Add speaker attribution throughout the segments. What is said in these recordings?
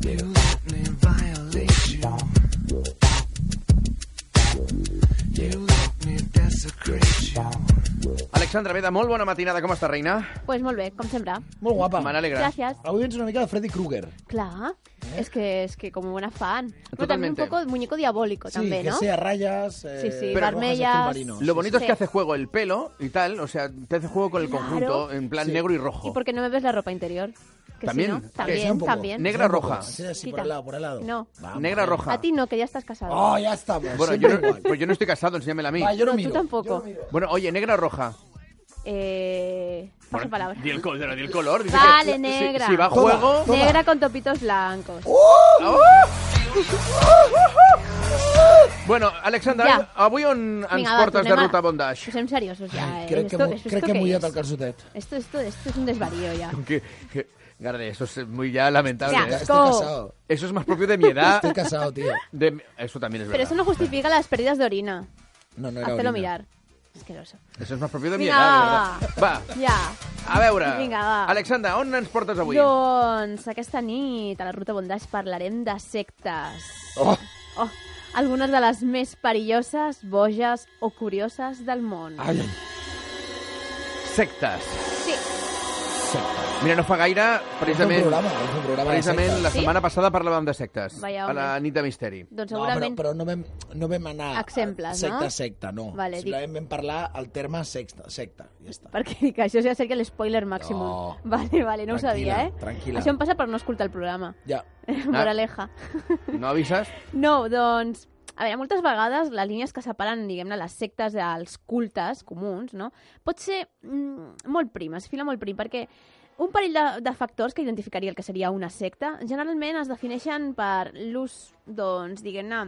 Speaker 1: You let me violate you. You let me desecrate you.
Speaker 2: Alexandra Veda, molt bona matinada. Com està, reina?
Speaker 3: Pues molt bé, com sempre.
Speaker 4: Molt guapa.
Speaker 2: Me n'alegra.
Speaker 3: Gràcies.
Speaker 4: L'audiència una mica de Freddy Krueger. ¿Eh?
Speaker 3: Clar, es que, es que como buena fan. Pero también un
Speaker 2: Totalmente.
Speaker 3: poco muñeco diabólico
Speaker 4: Sí,
Speaker 3: también,
Speaker 4: que
Speaker 3: ¿no?
Speaker 4: sea rayas, eh,
Speaker 3: Sí, sí,
Speaker 4: rojas,
Speaker 3: vermellas.
Speaker 4: escumbarino.
Speaker 2: Lo bonito es que
Speaker 3: Sí.
Speaker 2: hace juego el pelo y tal, o sea, te hace juego con el
Speaker 3: Claro.
Speaker 2: conjunto en plan
Speaker 4: Sí.
Speaker 2: negro y
Speaker 3: ¿Y
Speaker 2: rojo.
Speaker 3: por qué no me ves la ropa interior? Que
Speaker 2: También,
Speaker 3: sí, ¿no?
Speaker 2: que
Speaker 4: Sí, un
Speaker 3: También,
Speaker 4: poco.
Speaker 3: también.
Speaker 2: Negra,
Speaker 4: Un poco.
Speaker 2: roja.
Speaker 4: Sí, sí, por
Speaker 3: Quita.
Speaker 4: el lado, por el lado.
Speaker 3: No.
Speaker 4: Vamos.
Speaker 2: Negra, roja.
Speaker 3: A ti no, que ya estás casado.
Speaker 4: Oh, ya estamos.
Speaker 2: Bueno, yo
Speaker 4: siempre
Speaker 2: no,
Speaker 4: igual.
Speaker 2: pues yo no estoy casado, enséñamela a mí.
Speaker 4: Va, yo
Speaker 3: No,
Speaker 4: no,
Speaker 3: tú
Speaker 4: miro.
Speaker 3: tampoco.
Speaker 4: yo no miro.
Speaker 2: Bueno, oye, negra o roja.
Speaker 3: Eh, paso
Speaker 2: Bueno,
Speaker 3: palabra.
Speaker 2: Di el, col- di el color. dice que-
Speaker 3: Vale,
Speaker 2: si-
Speaker 3: negra.
Speaker 2: Si, va a
Speaker 4: Toma.
Speaker 2: juego...
Speaker 4: Toma. Oh,
Speaker 3: Negra con topitos blancos.
Speaker 2: Bueno, Alexandra,
Speaker 3: Ja.
Speaker 2: avui on ens
Speaker 3: Vinga, va,
Speaker 2: portes de
Speaker 3: tornem a-
Speaker 2: ruta bondage?
Speaker 3: Posem seriosos ja. Eh?
Speaker 4: Crec que,
Speaker 3: esto,
Speaker 4: m'ho-
Speaker 3: esto,
Speaker 4: crec
Speaker 3: esto
Speaker 4: que
Speaker 3: qué
Speaker 4: he mullat
Speaker 3: es?
Speaker 4: el calçotet.
Speaker 3: Esto, esto, esto es un desvarío ya.
Speaker 2: Que, que- Garde, eso es muy ya lamentable.
Speaker 3: Ya.
Speaker 4: Ya
Speaker 2: ¿eh?
Speaker 4: estoy
Speaker 3: Ah, Asco.
Speaker 4: casado.
Speaker 2: Eso es más propio de mi edad.
Speaker 4: Estoy casado, tío.
Speaker 2: de mi- Eso también es
Speaker 3: Pero
Speaker 2: verdad.
Speaker 3: eso no justifica las pérdidas de orina.
Speaker 4: No, no era
Speaker 3: Hazlo
Speaker 4: orina.
Speaker 3: mirar. Asqueroso.
Speaker 2: Eso es más propio de mi
Speaker 3: Vinga,
Speaker 2: edad, de
Speaker 3: va.
Speaker 2: verdad. Va,
Speaker 3: Ja.
Speaker 2: a veure.
Speaker 3: Vinga, va.
Speaker 2: Alexandra, on ens portes avui?
Speaker 3: Doncs aquesta nit a la Ruta Bondage parlarem de sectes.
Speaker 4: Oh,
Speaker 3: Oh, algunes de les més perilloses, boges o curioses del món.
Speaker 4: ai, ai.
Speaker 2: Sectes.
Speaker 3: Sí,
Speaker 2: Mira, no fa gaire,
Speaker 4: Vam fer un
Speaker 2: precisament,
Speaker 4: programa, vam fer un programa de
Speaker 2: precisament la
Speaker 4: sectes.
Speaker 3: Sí?
Speaker 2: setmana passada parlàvem de sectes.
Speaker 3: Vaya
Speaker 2: a la
Speaker 3: home.
Speaker 2: nit de misteri.
Speaker 3: doncs
Speaker 4: No, però,
Speaker 3: segurament...
Speaker 4: però no, vam, no vam anar a
Speaker 3: Exemples, no?
Speaker 4: secta, secta, no.
Speaker 3: Vale, dic-
Speaker 4: Simplement vam parlar el terme secta, secta, ja està.
Speaker 3: Perquè dic, això ja seria l'espoiler màxim.
Speaker 4: No.
Speaker 3: Vale, vale, no ho
Speaker 4: Tranquil·la,
Speaker 3: sabia, eh?
Speaker 4: tranquil·la. Ah.
Speaker 3: Això em passa per no escoltar el programa.
Speaker 4: Ja.
Speaker 3: Moraleja.
Speaker 2: No avises?
Speaker 3: No, doncs... A veure, moltes vegades les línies que separen, diguem-ne, les sectes dels cultes comuns, no? Pot ser mm, molt prim, es fila molt prim, perquè un parell de, de factors que identificaria el que seria una secta generalment es defineixen per l'ús, doncs, diguem-ne,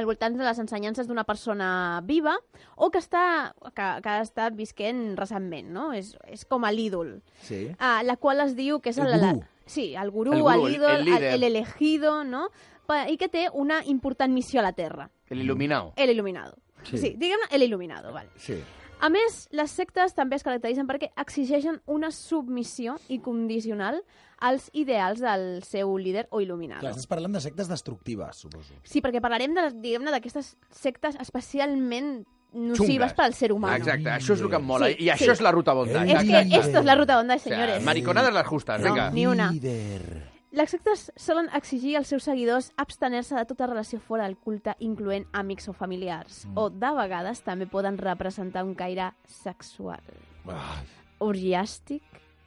Speaker 3: al voltant de les ensenyances d'una persona viva o que, està, que, que ha estat visquent recentment, no? És, és com a l'ídol.
Speaker 4: Sí.
Speaker 3: Ah, la cual es diu que és
Speaker 4: El
Speaker 3: la, la,
Speaker 4: gurú.
Speaker 3: sí, el gurú,
Speaker 2: El
Speaker 3: el,
Speaker 2: gurú, el-
Speaker 3: el ídol,
Speaker 2: el
Speaker 3: el,
Speaker 2: líder.
Speaker 3: el elegido, no? Pa- I que té una important missió a la Terra,
Speaker 2: El il·luminau.
Speaker 3: el il·luminado.
Speaker 4: Sí.
Speaker 3: Sí, sí diguem-ne el il·luminado, vale.
Speaker 4: Sí.
Speaker 3: A més, les sectes també es caracteritzen perquè exigeixen una submissió incondicional als ideals del seu líder o il·luminado.
Speaker 4: Clar, estàs parlant de sectes destructives, suposo.
Speaker 3: Sí, perquè parlarem de, les- diguem-ne, d'aquestes sectes especialment nocives
Speaker 2: Xungues.
Speaker 3: per al ser humà.
Speaker 2: Exacte, això és el que em mola.
Speaker 3: Sí,
Speaker 2: I això
Speaker 3: sí.
Speaker 2: és la ruta bondage.
Speaker 3: És
Speaker 4: Exacte.
Speaker 3: que esto es la ruta onda,
Speaker 2: O sea,
Speaker 3: señores.
Speaker 2: mariconadas las justas, venga.
Speaker 3: ni una.
Speaker 4: Líder.
Speaker 3: Les sectes solen exigir als seus seguidors abstenir-se de tota relació fora del culte, incloent amics o familiars, o de vegades també poden representar un caire sexual,
Speaker 4: Ai,
Speaker 3: orgiàstic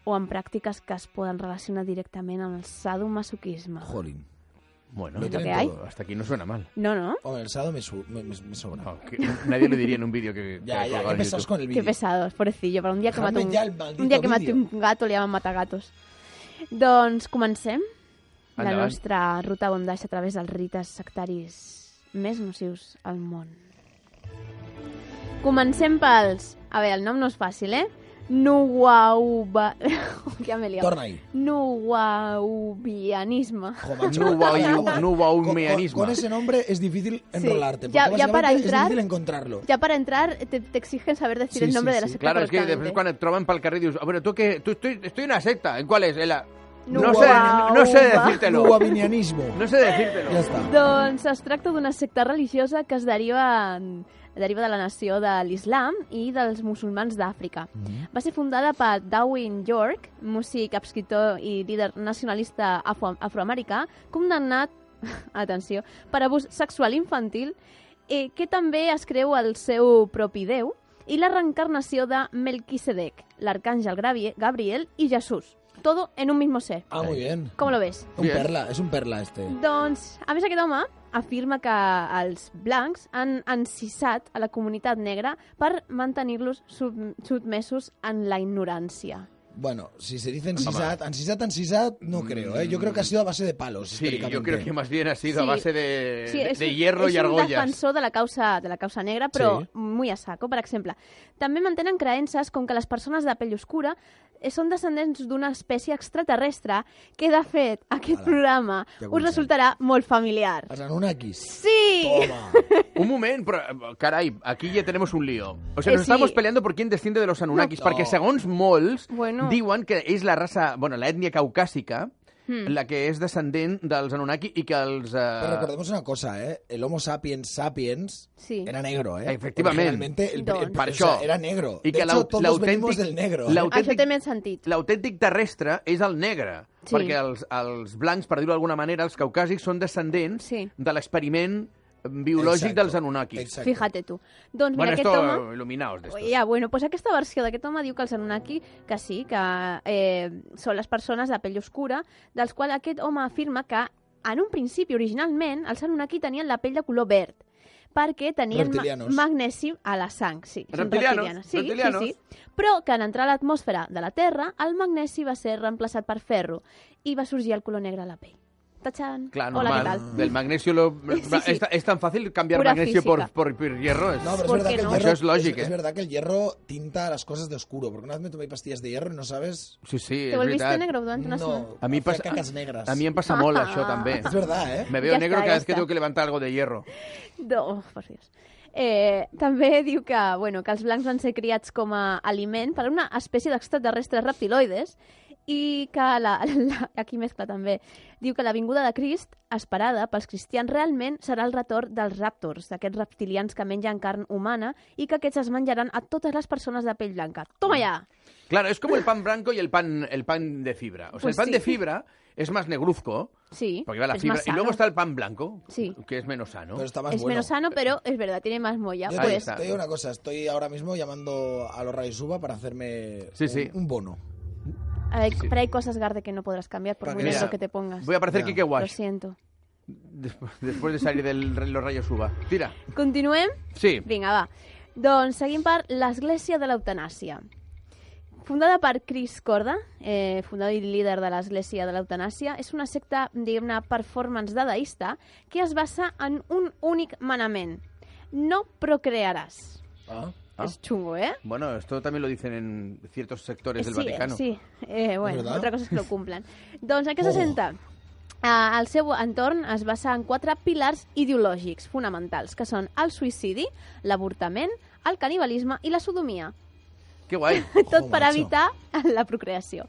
Speaker 3: o en pràctiques que es poden relacionar directament amb el sadomasoquisme.
Speaker 4: jolín.
Speaker 2: Bueno,
Speaker 4: Lo
Speaker 3: tienen que hay.
Speaker 4: todo.
Speaker 2: hasta aquí no suena mal.
Speaker 3: No, no?
Speaker 4: Hombre, Oh, el sábado me, su- me- me- me sobra.
Speaker 2: Aunque nadie lo diría en un vídeo que.
Speaker 4: Ya,
Speaker 2: que
Speaker 4: ya,
Speaker 2: colgaba en
Speaker 4: empezamos
Speaker 2: YouTube.
Speaker 4: con el vídeo.
Speaker 3: Qué pesados, pobrecillo. Però un dia que
Speaker 4: Dejadme
Speaker 3: mato un,
Speaker 4: ya el maldito
Speaker 3: un, dia que mate
Speaker 4: vídeo.
Speaker 3: un gato li llaman matagatos. Doncs comencem la
Speaker 2: Endavant.
Speaker 3: nostra ruta bondage a través dels rites sectaris més nocius al món. Comencem pels... A veure, el nom no és fàcil, eh? Nuwauba... ja me liat.
Speaker 4: Torna ahí.
Speaker 3: Nuwaubianisme.
Speaker 4: Jo, macho,
Speaker 2: No
Speaker 4: por
Speaker 2: guau-
Speaker 4: favor.
Speaker 2: no guaumeanismo.
Speaker 4: Con, con- con ese nombre es difícil enrolarte.
Speaker 3: Ya-
Speaker 4: porque
Speaker 3: ya
Speaker 4: básicamente
Speaker 3: para entrar-
Speaker 4: Es difícil encontrarlo.
Speaker 3: Ja per entrar te, te exigen saber decir
Speaker 4: Sí,
Speaker 3: el nombre
Speaker 4: sí,
Speaker 3: de la
Speaker 4: sí.
Speaker 3: secta
Speaker 2: Claro, es que después
Speaker 3: correctamente.
Speaker 2: cuando troban para el carril dices, bueno, tú que tú estoy, estoy en una secta. ¿En cuál es? En la- No,
Speaker 3: No
Speaker 2: sé,
Speaker 3: guau,
Speaker 2: no sé
Speaker 3: guau.
Speaker 2: decírtelo.
Speaker 4: Guavinianismo.
Speaker 2: No sé decírtelo.
Speaker 4: Ya está.
Speaker 3: Doncs es tracta d'una secta religiosa que es deriva, en- deriva de la nació de l'islam i dels musulmans d'Àfrica. Va ser fundada per Darwin York, músic, escriptor i líder nacionalista afro afroamericà, condemnat, atenció, per abús sexual infantil, eh, que també es creu el seu propi déu, i la reencarnació de Melquisedec, l'arcàngel Gravie- Gabriel i Jesús. Todo en un mismo ser.
Speaker 4: Ah, muy bien.
Speaker 3: Com lo ves?
Speaker 4: Un
Speaker 2: Bien.
Speaker 4: perla, es un perla este.
Speaker 3: Doncs, a més, aquest home afirma que els blancs han encissat a la comunitat negra per mantenir-los sub sotmesos en la ignorància.
Speaker 4: Bueno, si se dice ensisat, ansisat, ansisat, no creo, ¿eh? Yo creo que ha sido a base de palos,
Speaker 2: Mm. Sí,
Speaker 4: históricamente.
Speaker 2: yo creo que más bien ha sido a
Speaker 3: Sí.
Speaker 2: base de, Eh, de-
Speaker 3: és
Speaker 2: de
Speaker 3: un-
Speaker 2: hierro y
Speaker 3: És un
Speaker 2: argollas.
Speaker 3: defensor de la causa, de la causa negra, però
Speaker 4: Sí.
Speaker 3: sí. muy a saco, per exemple. També mantenen creences com que les persones de pell oscura eh, són descendents d'una espècie extraterrestre que, de fet, aquest
Speaker 4: Ala,
Speaker 3: programa
Speaker 4: ja
Speaker 3: us
Speaker 4: comencem.
Speaker 3: resultarà molt familiar.
Speaker 4: Els Anunnakis.
Speaker 3: Sí!
Speaker 4: Toma.
Speaker 2: Un momento, pero, caray, aquí ya tenemos un lío. O sea,
Speaker 3: Eh,
Speaker 2: nos estamos
Speaker 3: sí.
Speaker 2: peleando por quién desciende de los Anunnakis,
Speaker 4: No.
Speaker 2: porque según Mols,
Speaker 3: Bueno.
Speaker 2: diuen que es la raza, bueno, la etnia caucásica,
Speaker 3: Hmm.
Speaker 2: la que és descendent dels Anunnaki i que els...
Speaker 4: Pero
Speaker 2: Eh...
Speaker 4: recordemos una cosa, ¿eh? El Homo sapiens sapiens
Speaker 3: Sí.
Speaker 4: era negro, ¿eh?
Speaker 2: Efectivamente.
Speaker 4: Realmente, el,
Speaker 3: Don.
Speaker 4: el-
Speaker 2: Per
Speaker 4: o sea,
Speaker 2: això.
Speaker 4: era negro.
Speaker 2: I
Speaker 4: de
Speaker 2: que l'au-
Speaker 4: hecho, todos
Speaker 2: l'autèntic-
Speaker 4: venimos del negro. ¿eh?
Speaker 2: l'au-
Speaker 3: Això
Speaker 2: autèntic-
Speaker 3: té més sentit.
Speaker 2: L'autèntic terrestre és el negre,
Speaker 3: Sí.
Speaker 2: perquè els, els blancs, per dir-ho d'alguna manera, els caucàsics són descendents
Speaker 3: Sí.
Speaker 2: de l'experiment biològic
Speaker 4: Exacto,
Speaker 2: dels Anunnakis.
Speaker 4: exacto.
Speaker 3: Fíjate tu. Doncs mira,
Speaker 2: Bueno,
Speaker 3: aquest
Speaker 2: esto,
Speaker 3: home...
Speaker 2: eh, il·luminaos d'esto.
Speaker 3: Ja, ah, bueno, pues aquesta versió d'aquest home diu que els Anunnaki, que sí, que eh, són les persones de pell oscura, dels quals aquest home afirma que en un principi, originalment, els Anunnaki tenien la pell de color verd, perquè tenien ma
Speaker 4: Reptilianos.
Speaker 3: magnesi a la sang, sí. són
Speaker 2: Reptilianos,
Speaker 3: reptilianes. Sí,
Speaker 2: reptilianos.
Speaker 3: sí, sí. Però que en entrar a l'atmosfera de la Terra, el magnesi va ser reemplaçat per ferro i va sorgir el color negre a la pell. Tachan!
Speaker 2: Claro,
Speaker 3: Hola,
Speaker 2: normal.
Speaker 3: què tal?
Speaker 2: Del magnesio lo...
Speaker 3: Sí, sí.
Speaker 2: Es, ta- es tan fácil cambiar
Speaker 3: Pura
Speaker 2: magnesio
Speaker 3: física.
Speaker 2: por, por, por hierro. Es-
Speaker 4: No, pero es
Speaker 3: ¿Por
Speaker 4: verdad
Speaker 3: qué
Speaker 4: que el
Speaker 3: no?
Speaker 4: hierro,
Speaker 2: Eso es lógico,
Speaker 4: es,
Speaker 2: ¿eh?
Speaker 4: verdad que el hierro tinta las cosas de oscuro, porque una vez me tomé pastillas de hierro y no sabes...
Speaker 2: Sí, sí,
Speaker 3: Te
Speaker 2: és
Speaker 3: volviste
Speaker 2: veritat.
Speaker 3: negro durant una setmana.
Speaker 4: No,
Speaker 2: A mi
Speaker 4: hacía
Speaker 2: pasa-
Speaker 4: cacas negras.
Speaker 2: A mi em passa molt, això, també.
Speaker 4: Es verdad, ¿eh?
Speaker 2: Me veo
Speaker 3: Ja
Speaker 2: negro
Speaker 3: està,
Speaker 2: cada
Speaker 3: ja
Speaker 2: vez que
Speaker 3: està.
Speaker 2: tengo que levantar algo de hierro.
Speaker 3: No, oh, per Dios. Eh, també diu que, bueno, que els blancs van ser criats com a aliment per una espècie d'extraterrestres reptiloides i que la, la, aquí mescla també diu que la vinguda de Crist, esperada pels cristians, realment serà el retorn dels raptors, d'aquests reptilians que mengen carn humana i que aquests es menjaran a totes les persones de pell blanca. Toma ja!
Speaker 2: Claro, es como el pan blanco y el pan, el pan de fibra. O sea,
Speaker 3: Pues
Speaker 2: el pan
Speaker 3: sí.
Speaker 2: de fibra es más negruzco,
Speaker 3: Sí,
Speaker 2: porque va la
Speaker 3: es
Speaker 2: fibra.
Speaker 3: más
Speaker 2: Y luego
Speaker 3: sano.
Speaker 2: está el pan blanco,
Speaker 3: Sí.
Speaker 2: que es menos sano.
Speaker 4: Pero está más
Speaker 3: Es
Speaker 4: bueno.
Speaker 3: menos sano, pero es verdad, tiene más molla.
Speaker 4: Yo
Speaker 2: Ahí
Speaker 4: te,
Speaker 3: Pues,
Speaker 2: está.
Speaker 4: te digo una cosa, estoy ahora mismo llamando a los Raisuba para hacerme
Speaker 2: Sí,
Speaker 4: un,
Speaker 2: sí.
Speaker 4: un bono.
Speaker 3: hay, pero hay cosas, Garde, que no podrás cambiar por
Speaker 4: Para
Speaker 3: muy
Speaker 4: que
Speaker 3: negro
Speaker 4: vea.
Speaker 3: que te pongas.
Speaker 2: Voy a parecer
Speaker 4: Ya.
Speaker 2: Kike
Speaker 3: Lo
Speaker 2: Wash
Speaker 3: siento.
Speaker 2: desp- después de salir de los rayos uva. Tira.
Speaker 3: Continuem?
Speaker 2: Sí.
Speaker 3: Vinga, va. Doncs seguim per l'Església de l'Eutanàsia. Fundada per Chris Corda, eh, fundador i líder de l'Església de l'Eutanàsia, és una secta, diguem-ne, performance dadaista que es basa en un únic manament. No procrearàs.
Speaker 4: Ah.
Speaker 2: Ah.
Speaker 3: És xungo, eh?
Speaker 2: Bueno, esto también lo dicen en ciertos sectores del
Speaker 3: sí,
Speaker 2: Vaticano.
Speaker 3: Sí, eh, bueno,
Speaker 4: ¿Verdad?
Speaker 3: otra cosa es que lo cumplan. Doncs en què se
Speaker 4: Oh.
Speaker 3: senta? Ah, el seu entorn es basa en quatre pilars ideològics fonamentals, que són el suïcidi, l'avortament, el canibalisme i la sodomia.
Speaker 2: Qué guay.
Speaker 3: tot
Speaker 4: Ojo,
Speaker 3: per
Speaker 4: macho.
Speaker 3: evitar la procreació.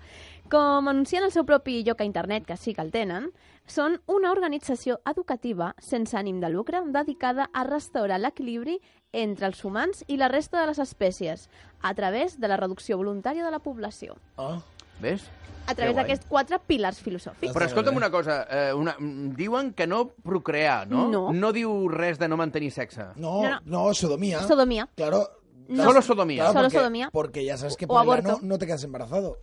Speaker 3: Com anuncien el seu propi lloc a internet, que sí que el tenen, són una organització educativa sense ànim de lucre dedicada a restaurar l'equilibri entre els humans i la resta de les espècies a través de la reducció voluntària de la població.
Speaker 4: Ah.
Speaker 2: ¿Ves?
Speaker 3: A través
Speaker 2: guai.
Speaker 3: d'aquests quatre pilars filosòfics.
Speaker 2: Però escolta'm una cosa, eh, una, mm, diuen que no procrear, no?
Speaker 3: No.
Speaker 2: No diu res de no mantenir sexe.
Speaker 4: No,
Speaker 3: No,
Speaker 4: no, sodomía.
Speaker 3: Sodomia.
Speaker 4: Claro.
Speaker 3: No.
Speaker 2: Solo sodomía.
Speaker 4: Claro,
Speaker 3: Solo
Speaker 4: porque,
Speaker 3: sodomía.
Speaker 4: Porque ya sabes que
Speaker 3: O
Speaker 4: por el
Speaker 3: aborto.
Speaker 4: ano no te quedas embarazado.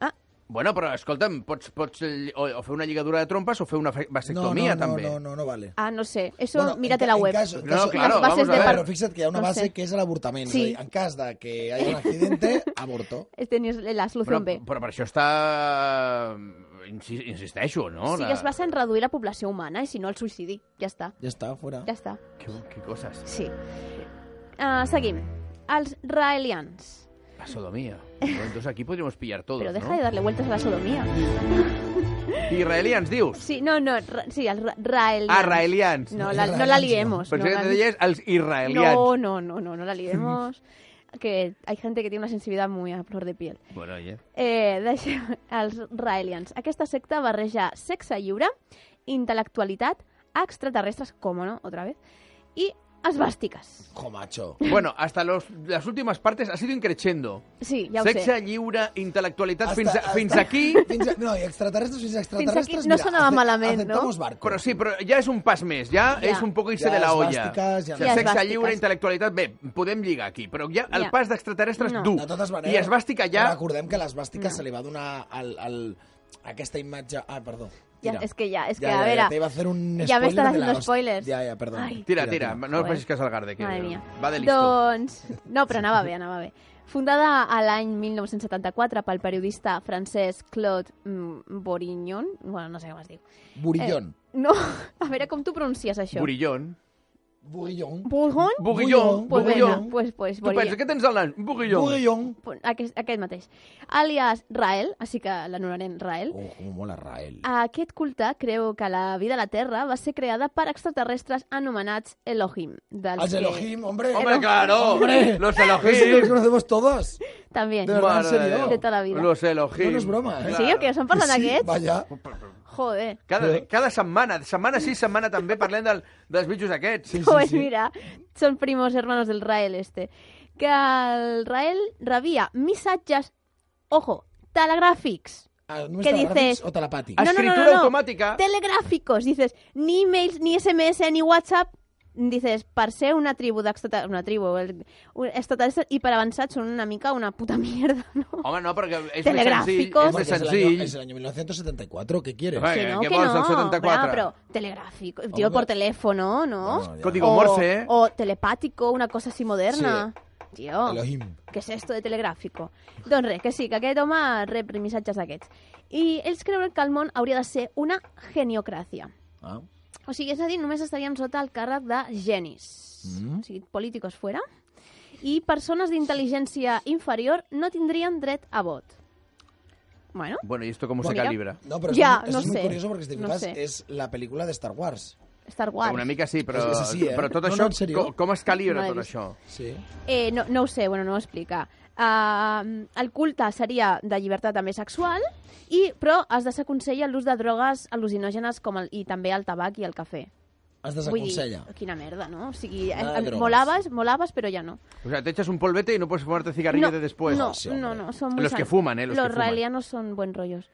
Speaker 3: Ah,
Speaker 2: Bueno, però escolta'm, pots, pots eh, o, o fer una lligadura de trompes o fer una fe-
Speaker 4: No, no,
Speaker 2: vasectomía
Speaker 4: no,
Speaker 2: també.
Speaker 4: no, no, no vale.
Speaker 3: Ah, no sé. Eso,
Speaker 4: Bueno, en
Speaker 3: mírate
Speaker 4: ca-
Speaker 3: la
Speaker 4: en
Speaker 3: web.
Speaker 4: caso- en
Speaker 2: No,
Speaker 4: caso-
Speaker 2: claro,
Speaker 3: Las bases
Speaker 2: vamos a
Speaker 3: de
Speaker 2: ver.
Speaker 3: par-
Speaker 4: Pero fíjate que hay una
Speaker 3: No
Speaker 4: base
Speaker 3: sé.
Speaker 4: que es el abortamiento.
Speaker 3: Sí.
Speaker 4: En caso de que haya un accidente, aborto.
Speaker 3: Tenías la solució
Speaker 2: Però,
Speaker 3: B.
Speaker 2: però per això està... mm, insi- Insisteixo, no?
Speaker 3: Sí que es basa en reduir la població humana i si no el suïcidi. Ja està.
Speaker 4: Ya está, fuera.
Speaker 3: Ja està.
Speaker 2: Que, que coses.
Speaker 3: Sí. Uh, seguim. Els raelians.
Speaker 2: La sodomía. Bueno, entonces aquí podríamos pillar todos,
Speaker 3: Però deja
Speaker 2: no?
Speaker 3: de darle vueltas a la sodomia.
Speaker 2: Israelians, dius?
Speaker 3: Sí, no, no, ra- sí, els ra- raelians.
Speaker 2: Ah, raelians. Pues
Speaker 3: No, la, no la
Speaker 4: Israelians,
Speaker 3: liemos.
Speaker 2: Pensé
Speaker 3: no,
Speaker 2: que
Speaker 3: la-
Speaker 2: te deies els israelians.
Speaker 3: no, no, no, no, no la liemos. que hay gente que tiene una sensibilidad muy a flor de piel.
Speaker 2: Bueno, oye.
Speaker 3: Eh, deixem els Raelians. Aquesta secta barreja sexe lliure, intel·lectualitat, extraterrestres, com no, otra vez, i esbàstiques.
Speaker 4: Jo, macho.
Speaker 2: Bueno, hasta los, las últimas partes ha sido increchendo.
Speaker 3: Sí, ja ho sé.
Speaker 2: Sexe, lliure, intel·lectualitat,
Speaker 4: Hasta-
Speaker 2: fins, a,
Speaker 4: hasta-
Speaker 2: fins aquí...
Speaker 4: Fins a- no, i extraterrestres fins a extraterrestres...
Speaker 3: aquí no sonava
Speaker 4: ace-
Speaker 3: malament, no?
Speaker 4: aceptamos barco.
Speaker 2: Però sí, però ja és un pas més, ja,
Speaker 3: Ja.
Speaker 2: és un poc irse
Speaker 4: Ja
Speaker 2: de la olla.
Speaker 4: esbàstiques,
Speaker 2: O sigui,
Speaker 4: ja
Speaker 3: no. Ja
Speaker 2: sexe
Speaker 3: esbàstiques.
Speaker 2: lliure, intel·lectualitat, bé, podem lligar aquí, però ja el
Speaker 3: Ja.
Speaker 2: pas d'extraterrestres
Speaker 3: No.
Speaker 2: dur.
Speaker 4: De totes maneres...
Speaker 2: I esbàstica ja...
Speaker 4: Recordem que l'esbàstica se li va donar al, al, a aquesta imatge... Ah, perdó.
Speaker 3: Ja,
Speaker 4: Tira.
Speaker 3: és que ja, és que,
Speaker 4: ja,
Speaker 3: a
Speaker 4: ja,
Speaker 3: veure...
Speaker 4: Ja, te iba a hacer un
Speaker 3: ya me
Speaker 4: spoiler
Speaker 3: están
Speaker 4: de la
Speaker 3: haciendo
Speaker 4: host-
Speaker 3: spoilers.
Speaker 4: Ja, ja, perdó.
Speaker 3: Ai.
Speaker 2: Tira, tira, no us
Speaker 3: Joder.
Speaker 2: vagis cas al Garde, que
Speaker 3: Madre mía.
Speaker 2: va de listo.
Speaker 3: Doncs... No, però anava bé, anava bé. Fundada a l'any 1974 pel periodista francès Claude mm, Borignon, bueno, no sé com es diu.
Speaker 4: Burillón.
Speaker 3: No, a veure com tu pronuncies això.
Speaker 2: Burillón.
Speaker 4: Burillón.
Speaker 3: Borignon?
Speaker 2: Buguillón.
Speaker 4: Buguillón.
Speaker 3: Pues venga,
Speaker 2: Buguillón.
Speaker 3: pues, pues,
Speaker 2: Tu penses,
Speaker 3: Borignon.
Speaker 2: què tens al nan? Burillón.
Speaker 4: Burillón.
Speaker 3: Aquest, aquest mateix. Alias Rael, així que l'anomenarem Rael.
Speaker 4: Oh, com mola Rael.
Speaker 3: Aquest culte creu que la vida a la Terra va ser creada per extraterrestres anomenats Elohim. Dels
Speaker 4: Els Elohim, hombre.
Speaker 2: Hombre, claro.
Speaker 4: Hombre.
Speaker 2: Los
Speaker 4: Ese que los
Speaker 2: Elohim.
Speaker 4: conocemos todos.
Speaker 3: Que... També.
Speaker 4: De verdad, en
Speaker 2: Madre de
Speaker 4: serio.
Speaker 2: Déu.
Speaker 3: De tota la vida.
Speaker 2: Los Elohim.
Speaker 4: No, no és broma, eh?
Speaker 3: Sí, o què? Estan parlant
Speaker 4: Sí,
Speaker 3: aquests?
Speaker 4: Vaya.
Speaker 3: Joder.
Speaker 2: Cada, cada setmana, setmana sí, setmana també, parlem del, dels bitxos aquests.
Speaker 4: Sí,
Speaker 3: Pues
Speaker 4: sí.
Speaker 3: mira, son primos hermanos del Rael este. Que el Rael rebia missatges, ojo, telegràfics.
Speaker 4: Ah, només
Speaker 3: Què
Speaker 4: telegràfics
Speaker 3: dices?
Speaker 4: O telepàtic.
Speaker 3: Ah, No, no, no,
Speaker 2: Escritura
Speaker 3: no, no.
Speaker 2: automàtica.
Speaker 3: Telegráficos, dices, ni emails, ni SMS, ni WhatsApp. Dices, per ser una tribu d'extraterrestres, una tribu, el- un- extraterrestres i per avançats són una mica una puta mierda, no?
Speaker 2: Home, no, perquè és més senzill.
Speaker 3: Telegràficos.
Speaker 2: És
Speaker 4: Porque
Speaker 2: més
Speaker 4: es el año-
Speaker 2: senzill.
Speaker 4: Es el año 1974, ¿qué quieres?
Speaker 2: Bueno,
Speaker 3: Que
Speaker 2: Eh,
Speaker 3: no,
Speaker 2: què
Speaker 3: que,
Speaker 2: vols, el
Speaker 3: no,
Speaker 2: 74?
Speaker 3: clar, però telegráfico,
Speaker 4: Home.
Speaker 3: tio, por teléfono, no?
Speaker 4: Bueno, ya.
Speaker 2: Código
Speaker 3: o,
Speaker 2: Morse. ¿eh?
Speaker 3: o telepático, una cosa así moderna. Tio.
Speaker 4: Elohim.
Speaker 3: Què és esto de telegràfico? Doncs res, que sí, que aquest home rep missatges d'aquests. I ells creuen que el món hauria de ser una geniocràcia.
Speaker 4: Ah.
Speaker 3: O sigui, és a dir, només estaríem sota el càrrec de genis.
Speaker 4: Mm.
Speaker 3: O sigui, políticos fuera. I persones d'intel·ligència inferior no tindrien dret a vot. Bueno,
Speaker 2: Bueno, ¿y esto cómo se
Speaker 3: Mira.
Speaker 2: calibra?
Speaker 4: No, pero
Speaker 3: Ya,
Speaker 4: es, muy- eso
Speaker 3: no
Speaker 4: es muy
Speaker 3: sé.
Speaker 4: curioso porque si te
Speaker 3: No
Speaker 4: fijas,
Speaker 3: sé.
Speaker 4: es la película de Star Wars.
Speaker 3: Star Wars.
Speaker 2: Una mica sí, però,
Speaker 4: És- és així, eh?
Speaker 2: però tot
Speaker 4: No,
Speaker 2: això,
Speaker 4: no, en sèrio.
Speaker 2: co- com es calibra
Speaker 3: No he
Speaker 2: tot
Speaker 3: vist.
Speaker 2: això?
Speaker 4: Sí.
Speaker 3: Eh, no, no ho sé, bueno, no ho explica. Uh, el culte seria de llibertat també sexual, i, però es desaconsella l'ús de drogues al·lucinògenes com el, i també el tabac i el cafè. Vull
Speaker 4: Has
Speaker 3: dir,
Speaker 4: desaconsella.
Speaker 3: quina merda, no? O sigui,
Speaker 4: Nada de
Speaker 3: em- em-
Speaker 4: drogues.
Speaker 3: molaves, molaves, però ja no.
Speaker 2: O sea, te echas un polvete y no puedes fumarte cigarrillo de después.
Speaker 3: No,
Speaker 4: Ah, sí,
Speaker 3: no,
Speaker 4: hombre.
Speaker 3: no, són muy
Speaker 2: Los
Speaker 3: san-
Speaker 2: que fuman, eh, los
Speaker 3: Los,
Speaker 2: que fuman.
Speaker 3: raelianos són bons rotllos.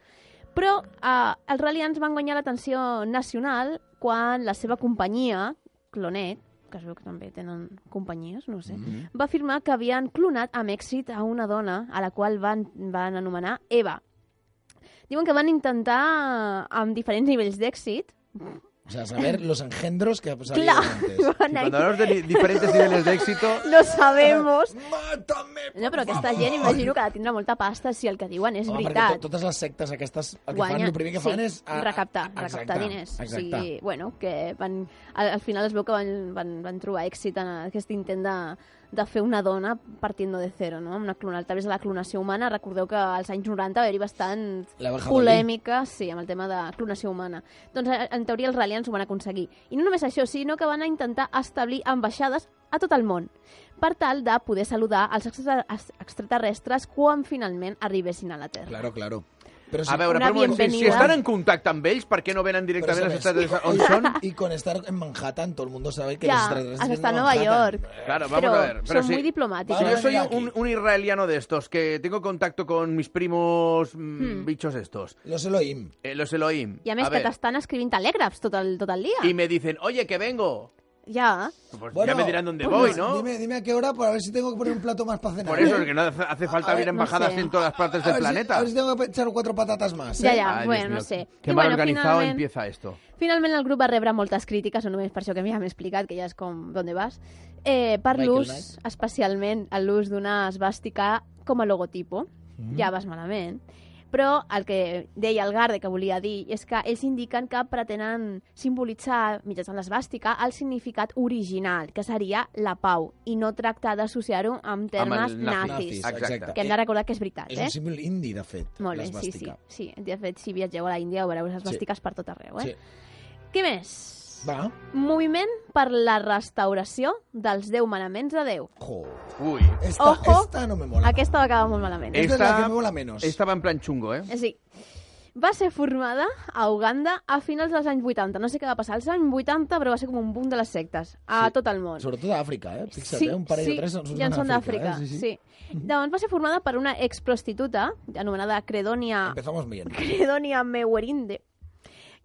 Speaker 3: Però eh, els raelians van guanyar l'atenció nacional quan la seva companyia, Clonet, que es veu que també tenen companyies, no ho sé, va afirmar que havien clonat amb èxit a una dona a la qual van, van anomenar Eva. Diuen que van intentar eh, amb diferents nivells d'èxit.
Speaker 4: O sea, saber los engendros que pues, había
Speaker 3: Clar,
Speaker 4: antes.
Speaker 2: Y
Speaker 3: van
Speaker 2: cuando
Speaker 3: ahí.
Speaker 2: hablamos de ni- diferentes niveles de éxito,
Speaker 3: No sabemos.
Speaker 4: Mátame!
Speaker 3: No, però aquesta gent imagino que ha de tindre molta pasta si el que diuen és
Speaker 4: Home, perquè
Speaker 3: veritat.
Speaker 4: to- totes les sectes aquestes, el que fan, el primer que
Speaker 3: sí,
Speaker 4: fan és... a- a-
Speaker 3: recaptar,
Speaker 4: exacte,
Speaker 3: recaptar diners.
Speaker 4: Exacte.
Speaker 3: O sigui, bueno, que van, al, al final es veu que van, van, van trobar èxit en aquest intent de, de fer una dona partint de zero, no? Una clonal, a través de la clonació humana. Recordeu que als anys 90 va haver-hi bastant
Speaker 4: La Benja
Speaker 3: polèmica sí, amb el tema de clonació humana. Doncs, eh, en teoria, els realians ho van aconseguir. I no només això, sinó que van intentar establir ambaixades a tot el món per tal de poder saludar els extra- els extraterrestres quan finalment arribessin a la Terra.
Speaker 4: Claro, claro. Però
Speaker 2: a veure,
Speaker 3: Una
Speaker 2: però un moment, si, si
Speaker 3: bienvenida.
Speaker 2: estan en contacte amb ells, per què no venen
Speaker 4: Pero
Speaker 2: directament a les
Speaker 4: eso
Speaker 2: Estats
Speaker 4: ves.
Speaker 2: Units?
Speaker 4: Oye,
Speaker 2: On són?
Speaker 4: Y con estar en Manhattan, todo el mundo sabe que los
Speaker 3: Ya,
Speaker 4: extraterrestres
Speaker 3: hasta
Speaker 4: vienen a
Speaker 3: Nueva
Speaker 4: Manhattan.
Speaker 3: York.
Speaker 2: Claro, vamos
Speaker 3: Pero
Speaker 2: a ver. Pero
Speaker 3: son
Speaker 2: si-
Speaker 3: muy eh? diplomáticos.
Speaker 2: Si
Speaker 4: Van
Speaker 2: yo
Speaker 4: a
Speaker 2: soy
Speaker 4: venir aquí.
Speaker 2: un, un israeliano de estos, que tengo contacto con mis primos
Speaker 3: Hmm.
Speaker 2: mm, bichos estos,
Speaker 4: Los Elohim.
Speaker 2: eh, los Elohim,
Speaker 3: I a
Speaker 2: a
Speaker 3: més que
Speaker 2: ver,
Speaker 3: t'estan escrivint telègrafs tot el, tot el dia.
Speaker 2: y me dicen, oye, que vengo,
Speaker 3: Ja.
Speaker 2: pues
Speaker 4: Bueno,
Speaker 2: ya me dirán dónde voy,
Speaker 4: pues
Speaker 2: ¿no?
Speaker 4: Dime, dime a qué hora, para ver si tengo que poner un plato más para cenar.
Speaker 2: Por eso, es que no hace- hace falta
Speaker 4: A
Speaker 2: abrir
Speaker 4: ver,
Speaker 3: no
Speaker 2: embajadas
Speaker 3: sé.
Speaker 2: en todas partes del
Speaker 4: A ver si- a
Speaker 2: planeta.
Speaker 4: ver si tengo que echar cuatro patatas más.
Speaker 3: Ja,
Speaker 4: ¿eh?
Speaker 3: ja,
Speaker 2: Ay, Dios
Speaker 3: bueno,
Speaker 2: mío,
Speaker 3: no sé.
Speaker 2: Qué
Speaker 3: I
Speaker 2: mal
Speaker 3: bueno,
Speaker 2: organizado
Speaker 3: finalment-
Speaker 2: empieza esto.
Speaker 3: Finalment el grup va rebre moltes crítiques, o només per això que ja m'he explicat, que ja és com d'on vas, eh, per
Speaker 4: Michael
Speaker 3: l'ús,
Speaker 4: Knight.
Speaker 3: especialment l'ús d'una esbàstica com a logotipo.
Speaker 4: Mm.
Speaker 3: Ja vas malament. Però el que deia el Garde que volia dir és que ells indiquen que pretenen simbolitzar mitjançant l'esbàstica el significat original, que seria la pau, i no tractar d'associar-ho amb termes
Speaker 2: el nazi.
Speaker 3: nazis.
Speaker 2: Exacte.
Speaker 3: Que hem de recordar que és veritat,
Speaker 4: És
Speaker 3: eh?
Speaker 4: un símbol indi, de fet,
Speaker 3: Molt bé, sí, sí,
Speaker 4: l'esbàstica.
Speaker 3: sí. De fet, si viatgeu a l'Índia veureu les esbàstiques per tot arreu, eh? Què més?
Speaker 4: Va.
Speaker 3: Moviment per la restauració dels 10 manaments de Déu.
Speaker 4: Jo.
Speaker 2: Uy,
Speaker 4: Esta,
Speaker 3: Ojo,
Speaker 4: esta no me mola.
Speaker 3: Aquesta va acabar molt malament. eh?
Speaker 4: Esta es
Speaker 2: Esta-
Speaker 4: la que me mola menos.
Speaker 2: estaba en plan chungo, ¿eh?
Speaker 3: Sí. Va ser formada a Uganda a finals dels anys 80. No sé què va passar als anys 80, però va ser com un boom de les sectes a
Speaker 4: Sí.
Speaker 3: tot el món.
Speaker 4: Sobretot a Àfrica, eh? Fixa't, eh? Un parell o tres ens
Speaker 3: ja en són d'Àfrica.
Speaker 4: eh?
Speaker 3: sí, Llavors va ser formada per una exprostituta anomenada Credonia
Speaker 4: Empezamos bien.
Speaker 3: Credonia Mewerinde,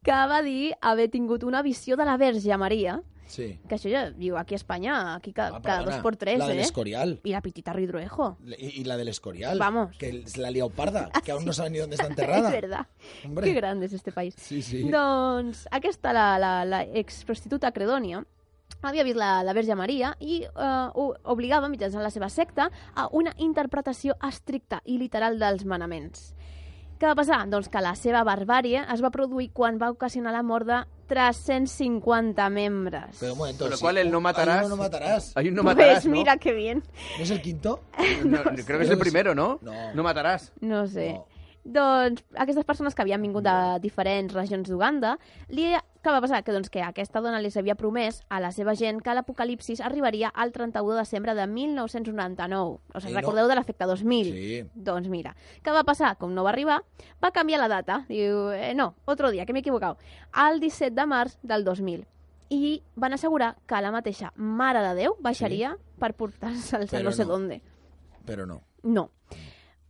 Speaker 3: que va dir haver tingut una visió de la Verge Maria,
Speaker 4: Sí.
Speaker 3: que això ja diu aquí a Espanya, aquí ca,
Speaker 4: Ah,
Speaker 3: cada
Speaker 4: perdona,
Speaker 3: dos por tres,
Speaker 4: La del
Speaker 3: eh?
Speaker 4: Escorial.
Speaker 3: I la Pitita Ridruejo.
Speaker 4: Le- Y, y la del Escorial.
Speaker 3: Vamos. Ah,
Speaker 4: Que es la leoparda, que aún no saben ni dónde está
Speaker 3: Es
Speaker 4: enterrada.
Speaker 3: verdad.
Speaker 4: Hombre.
Speaker 3: Que grande és este país.
Speaker 4: Sí, sí.
Speaker 3: Doncs aquesta, la, la, la exprostituta Credonia, havia vist la, la Verge Maria i eh, ho obligava, mitjançant la seva secta, a una interpretació estricta i literal dels manaments. Què va passar? Doncs que la seva barbària es va produir quan va ocasionar la mort de 350 membres.
Speaker 4: Pero un momento.
Speaker 2: Con lo
Speaker 4: sí,
Speaker 2: cual el no
Speaker 4: un-
Speaker 2: matarás-
Speaker 4: hay uno no matarás.
Speaker 2: Hay un no
Speaker 3: Pues
Speaker 2: matarás, ¿no?
Speaker 3: mira que bien.
Speaker 4: ¿No es el quinto?
Speaker 2: No, creo que es el primero, ¿no?
Speaker 4: No.
Speaker 2: No matarás.
Speaker 3: No sé.
Speaker 4: No.
Speaker 3: Doncs aquestes persones que havien vingut de diferents regions d'Uganda li Què va passar? Que, doncs, que aquesta dona li havia promès a la seva gent que l'apocalipsis arribaria al 31 de desembre de 1999. O
Speaker 4: I
Speaker 3: sigui,
Speaker 4: no-
Speaker 3: recordeu de l'efecte 2000?
Speaker 4: Sí.
Speaker 3: Doncs mira, què va passar? Com no va arribar, va canviar la data. Diu, eh, no, otro dia, que m'he equivocat. Al 17 de març del 2000. I van assegurar que la mateixa Mare de Déu baixaria sí. per portar-se al
Speaker 4: Però
Speaker 3: no sé
Speaker 4: no.
Speaker 3: d'onde.
Speaker 4: Però no.
Speaker 3: No.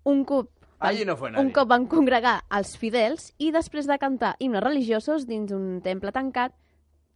Speaker 3: Un cop
Speaker 2: Allí no fue nadie.
Speaker 3: un cop van congregar els fidels i després de cantar himnes religiosos dins d'un temple tancat,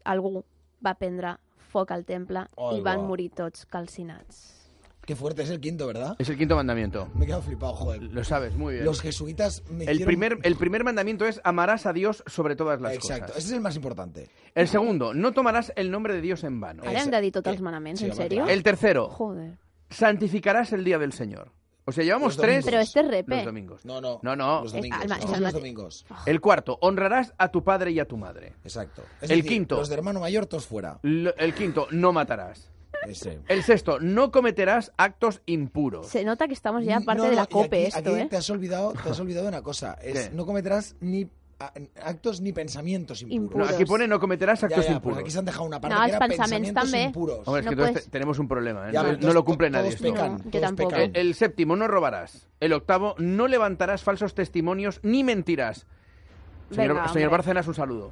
Speaker 3: algú va prendre foc al temple
Speaker 4: Ai,
Speaker 3: i van
Speaker 4: va.
Speaker 3: morir tots calcinats.
Speaker 4: Qué fuerte, es el quinto, ¿verdad?
Speaker 2: Es el quinto mandamiento.
Speaker 4: Me he quedado flipado, joder.
Speaker 2: Lo sabes muy bien.
Speaker 4: Los jesuitas me
Speaker 2: El
Speaker 4: hicieron-
Speaker 2: primer, el primer mandamiento es amarás a Dios sobre todas las
Speaker 4: Exacto,
Speaker 2: cosas.
Speaker 4: ese es el más importante.
Speaker 2: El segundo, no tomarás el nombre de Dios en vano.
Speaker 4: Eh.
Speaker 3: Ara hem de dir tots
Speaker 4: Eh,
Speaker 3: els manaments,
Speaker 4: sí,
Speaker 3: en
Speaker 4: home,
Speaker 3: sèrio?
Speaker 4: clar.
Speaker 2: El tercero,
Speaker 3: Joder.
Speaker 2: santificarás el día del Señor. O sea, llevamos
Speaker 4: Los
Speaker 2: tres
Speaker 4: domingos.
Speaker 3: Però este és repe.
Speaker 2: los domingos.
Speaker 4: No, no.
Speaker 2: No, no.
Speaker 4: Los
Speaker 3: Eh,
Speaker 4: domingos.
Speaker 3: alma,
Speaker 4: no,
Speaker 3: es alma-
Speaker 4: los domingos.
Speaker 2: El cuarto, honrarás a tu padre y a tu madre.
Speaker 4: Exacto. Es
Speaker 2: El
Speaker 4: decir,
Speaker 2: quinto.
Speaker 4: Los de hermano mayor, todos fuera.
Speaker 2: L- el quinto, no matarás.
Speaker 4: Ese.
Speaker 2: El sexto, no cometerás actos impuros.
Speaker 3: Se nota que estamos Pues ya
Speaker 4: No,
Speaker 3: parte
Speaker 4: no,
Speaker 3: de la
Speaker 4: y
Speaker 3: cope
Speaker 4: aquí-
Speaker 3: esto,
Speaker 4: aquí
Speaker 3: ¿eh?
Speaker 4: Te has olvidado, te has olvidado una cosa. Es,
Speaker 2: ¿Qué?
Speaker 4: no cometerás ni a- actos ni pensamientos impuros.
Speaker 2: No,
Speaker 3: Impuros.
Speaker 2: aquí pone no cometerás
Speaker 4: Ya,
Speaker 2: actos
Speaker 4: ya, pues
Speaker 2: impuros.
Speaker 4: aquí se han dejado una parte
Speaker 3: No,
Speaker 4: que era
Speaker 3: els pensaments
Speaker 4: pensamientos
Speaker 3: també.
Speaker 4: impuros.
Speaker 2: Hombre, es
Speaker 3: No
Speaker 2: que todos
Speaker 3: puedes.
Speaker 2: te- tenemos un problema. ¿eh?
Speaker 4: Ya,
Speaker 2: No-
Speaker 4: pero
Speaker 2: no lo
Speaker 4: todos-
Speaker 2: cumple nadie
Speaker 4: todos
Speaker 2: esto.
Speaker 4: pecan,
Speaker 3: No, yo
Speaker 4: todos
Speaker 3: tampoco.
Speaker 4: pecan.
Speaker 2: El, el séptimo, no robarás. El octavo, no levantarás falsos testimonios ni mentirás. Señor,
Speaker 3: Venga,
Speaker 2: señor
Speaker 3: hombre.
Speaker 2: Bárcenas, un saludo.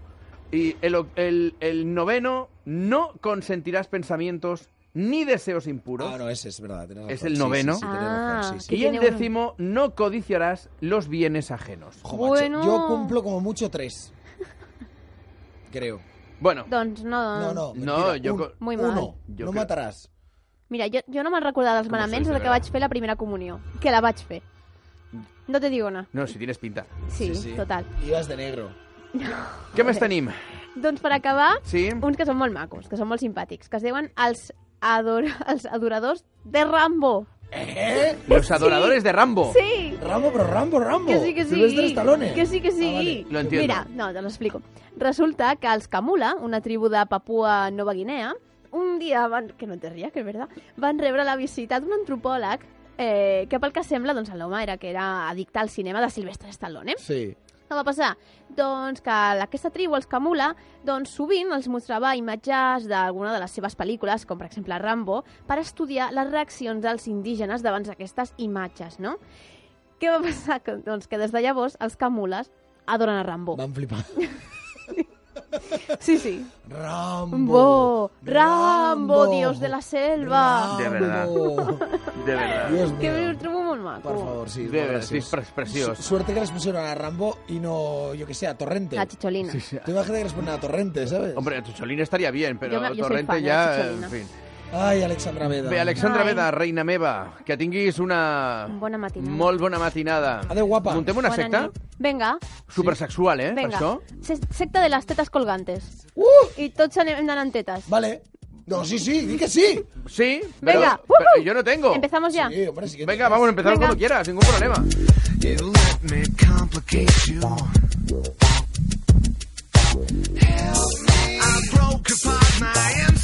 Speaker 2: Y el, oc- el- el noveno, no consentirás pensamientos ni deseos impuros.
Speaker 4: Ah, no, ese es verdad. tienes
Speaker 2: Es
Speaker 4: razón.
Speaker 2: el
Speaker 4: Sí,
Speaker 2: noveno.
Speaker 4: sí, sí, tienes razón,
Speaker 3: Ah,
Speaker 4: sí, sí.
Speaker 3: que
Speaker 2: y el
Speaker 3: tiene un-
Speaker 2: décimo, no codiciarás los bienes ajenos.
Speaker 4: Jo, macho,
Speaker 3: Bueno.
Speaker 4: Yo cumplo como mucho tres. Creo.
Speaker 2: Bueno,
Speaker 3: Doncs no...
Speaker 4: No,
Speaker 2: No,
Speaker 4: no. mentira,
Speaker 2: yo
Speaker 4: un-
Speaker 2: co-
Speaker 3: Ah. Muy
Speaker 4: uno,
Speaker 3: mal.
Speaker 2: Yo
Speaker 4: no
Speaker 2: creo-
Speaker 4: matarás.
Speaker 3: Mira, jo, jo no me'n recordava dels
Speaker 2: Com sois,
Speaker 3: manaments
Speaker 2: de
Speaker 3: des que
Speaker 2: verdad.
Speaker 3: vaig fer la primera comunió, que la vaig fer. No te digo nada.
Speaker 2: no, si tienes pinta.
Speaker 3: Sí, total.
Speaker 4: Ibas de negro.
Speaker 2: ¿Qué más tenim?
Speaker 3: Doncs per acabar,
Speaker 2: Sí.
Speaker 3: uns que són molt macos, que són molt simpàtics, que es diuen els, ador els adoradors de Rambo.
Speaker 4: ¿Eh?
Speaker 2: Los adoradores de Rambo.
Speaker 3: Sí!
Speaker 4: Rambo, pero Rambo, Rambo.
Speaker 3: Que sí, que sí.
Speaker 4: Sylvester Stallone.
Speaker 3: Que sí, que sí.
Speaker 4: Ah, vale.
Speaker 2: Lo entiendo.
Speaker 3: Mira, no, te lo explico. Resulta que els Kamula, una tribu de Papua Nova Guinea, un dia van... Que no te ries, que és verdad. Van rebre la visita d'un antropòleg eh, que pel que sembla, doncs l'home era que era addicte al cinema de Sylvester Stallone.
Speaker 4: Sí.
Speaker 3: Què va passar? Doncs que aquesta tribu, els Kamula, doncs sovint els mostrava imatges d'alguna de les seves pel·lícules, com per exemple Rambo, per estudiar les reaccions dels indígenes davant d'aquestes imatges, no? Què va passar? Que, doncs que des de llavors els Kamulas adoren a Rambo.
Speaker 4: Van flipar.
Speaker 3: Sí, sí.
Speaker 4: Rambo.
Speaker 3: Rambo, Rambo, dios de la selva.
Speaker 2: De verdad.
Speaker 4: Rambo.
Speaker 2: De verdad.
Speaker 4: Dios mío.
Speaker 3: Que ho trobo molt maco.
Speaker 4: Por favor, sí.
Speaker 2: De
Speaker 4: es muy
Speaker 2: verdad, sí, es
Speaker 4: gracioso.
Speaker 2: pre- precioso.
Speaker 4: Su- Suerte que les pusieron a Rambo y no, yo que sé, a Torrente.
Speaker 3: La xicholina.
Speaker 2: Sí, sí.
Speaker 4: Te imaginas que les ponen a Torrente, ¿sabes?
Speaker 2: Hombre, Chicholina estaría bien, pero
Speaker 3: Yo me- yo soy
Speaker 2: Torrente
Speaker 3: fan de la
Speaker 2: ya...
Speaker 3: Chicholina.
Speaker 2: en fin.
Speaker 4: Ay, Alexandra Veda.
Speaker 2: Bé, Alexandra
Speaker 3: Ai.
Speaker 2: Veda, reina meva, que tinguis una...
Speaker 3: Bona matinada.
Speaker 2: Molt bona matinada.
Speaker 4: Adéu, guapa.
Speaker 2: Muntem una
Speaker 3: Bona
Speaker 2: secta
Speaker 3: nit. Vinga.
Speaker 2: supersexual, eh,
Speaker 3: Vinga,
Speaker 2: per això.
Speaker 3: Se- secta de les tetes colgantes.
Speaker 4: Uh!
Speaker 3: I tots anem anant tetes.
Speaker 4: Vale. No, sí, sí, di que sí.
Speaker 2: Sí, pero,
Speaker 3: Venga,
Speaker 2: pero
Speaker 3: uhu.
Speaker 2: yo no tengo.
Speaker 3: Empezamos ya.
Speaker 4: Sí, hombre, sí que
Speaker 2: Venga, vamos a empezar
Speaker 3: Venga.
Speaker 2: cuando quieras, ningún problema.
Speaker 1: You let me complicate you. Help me. I broke apart my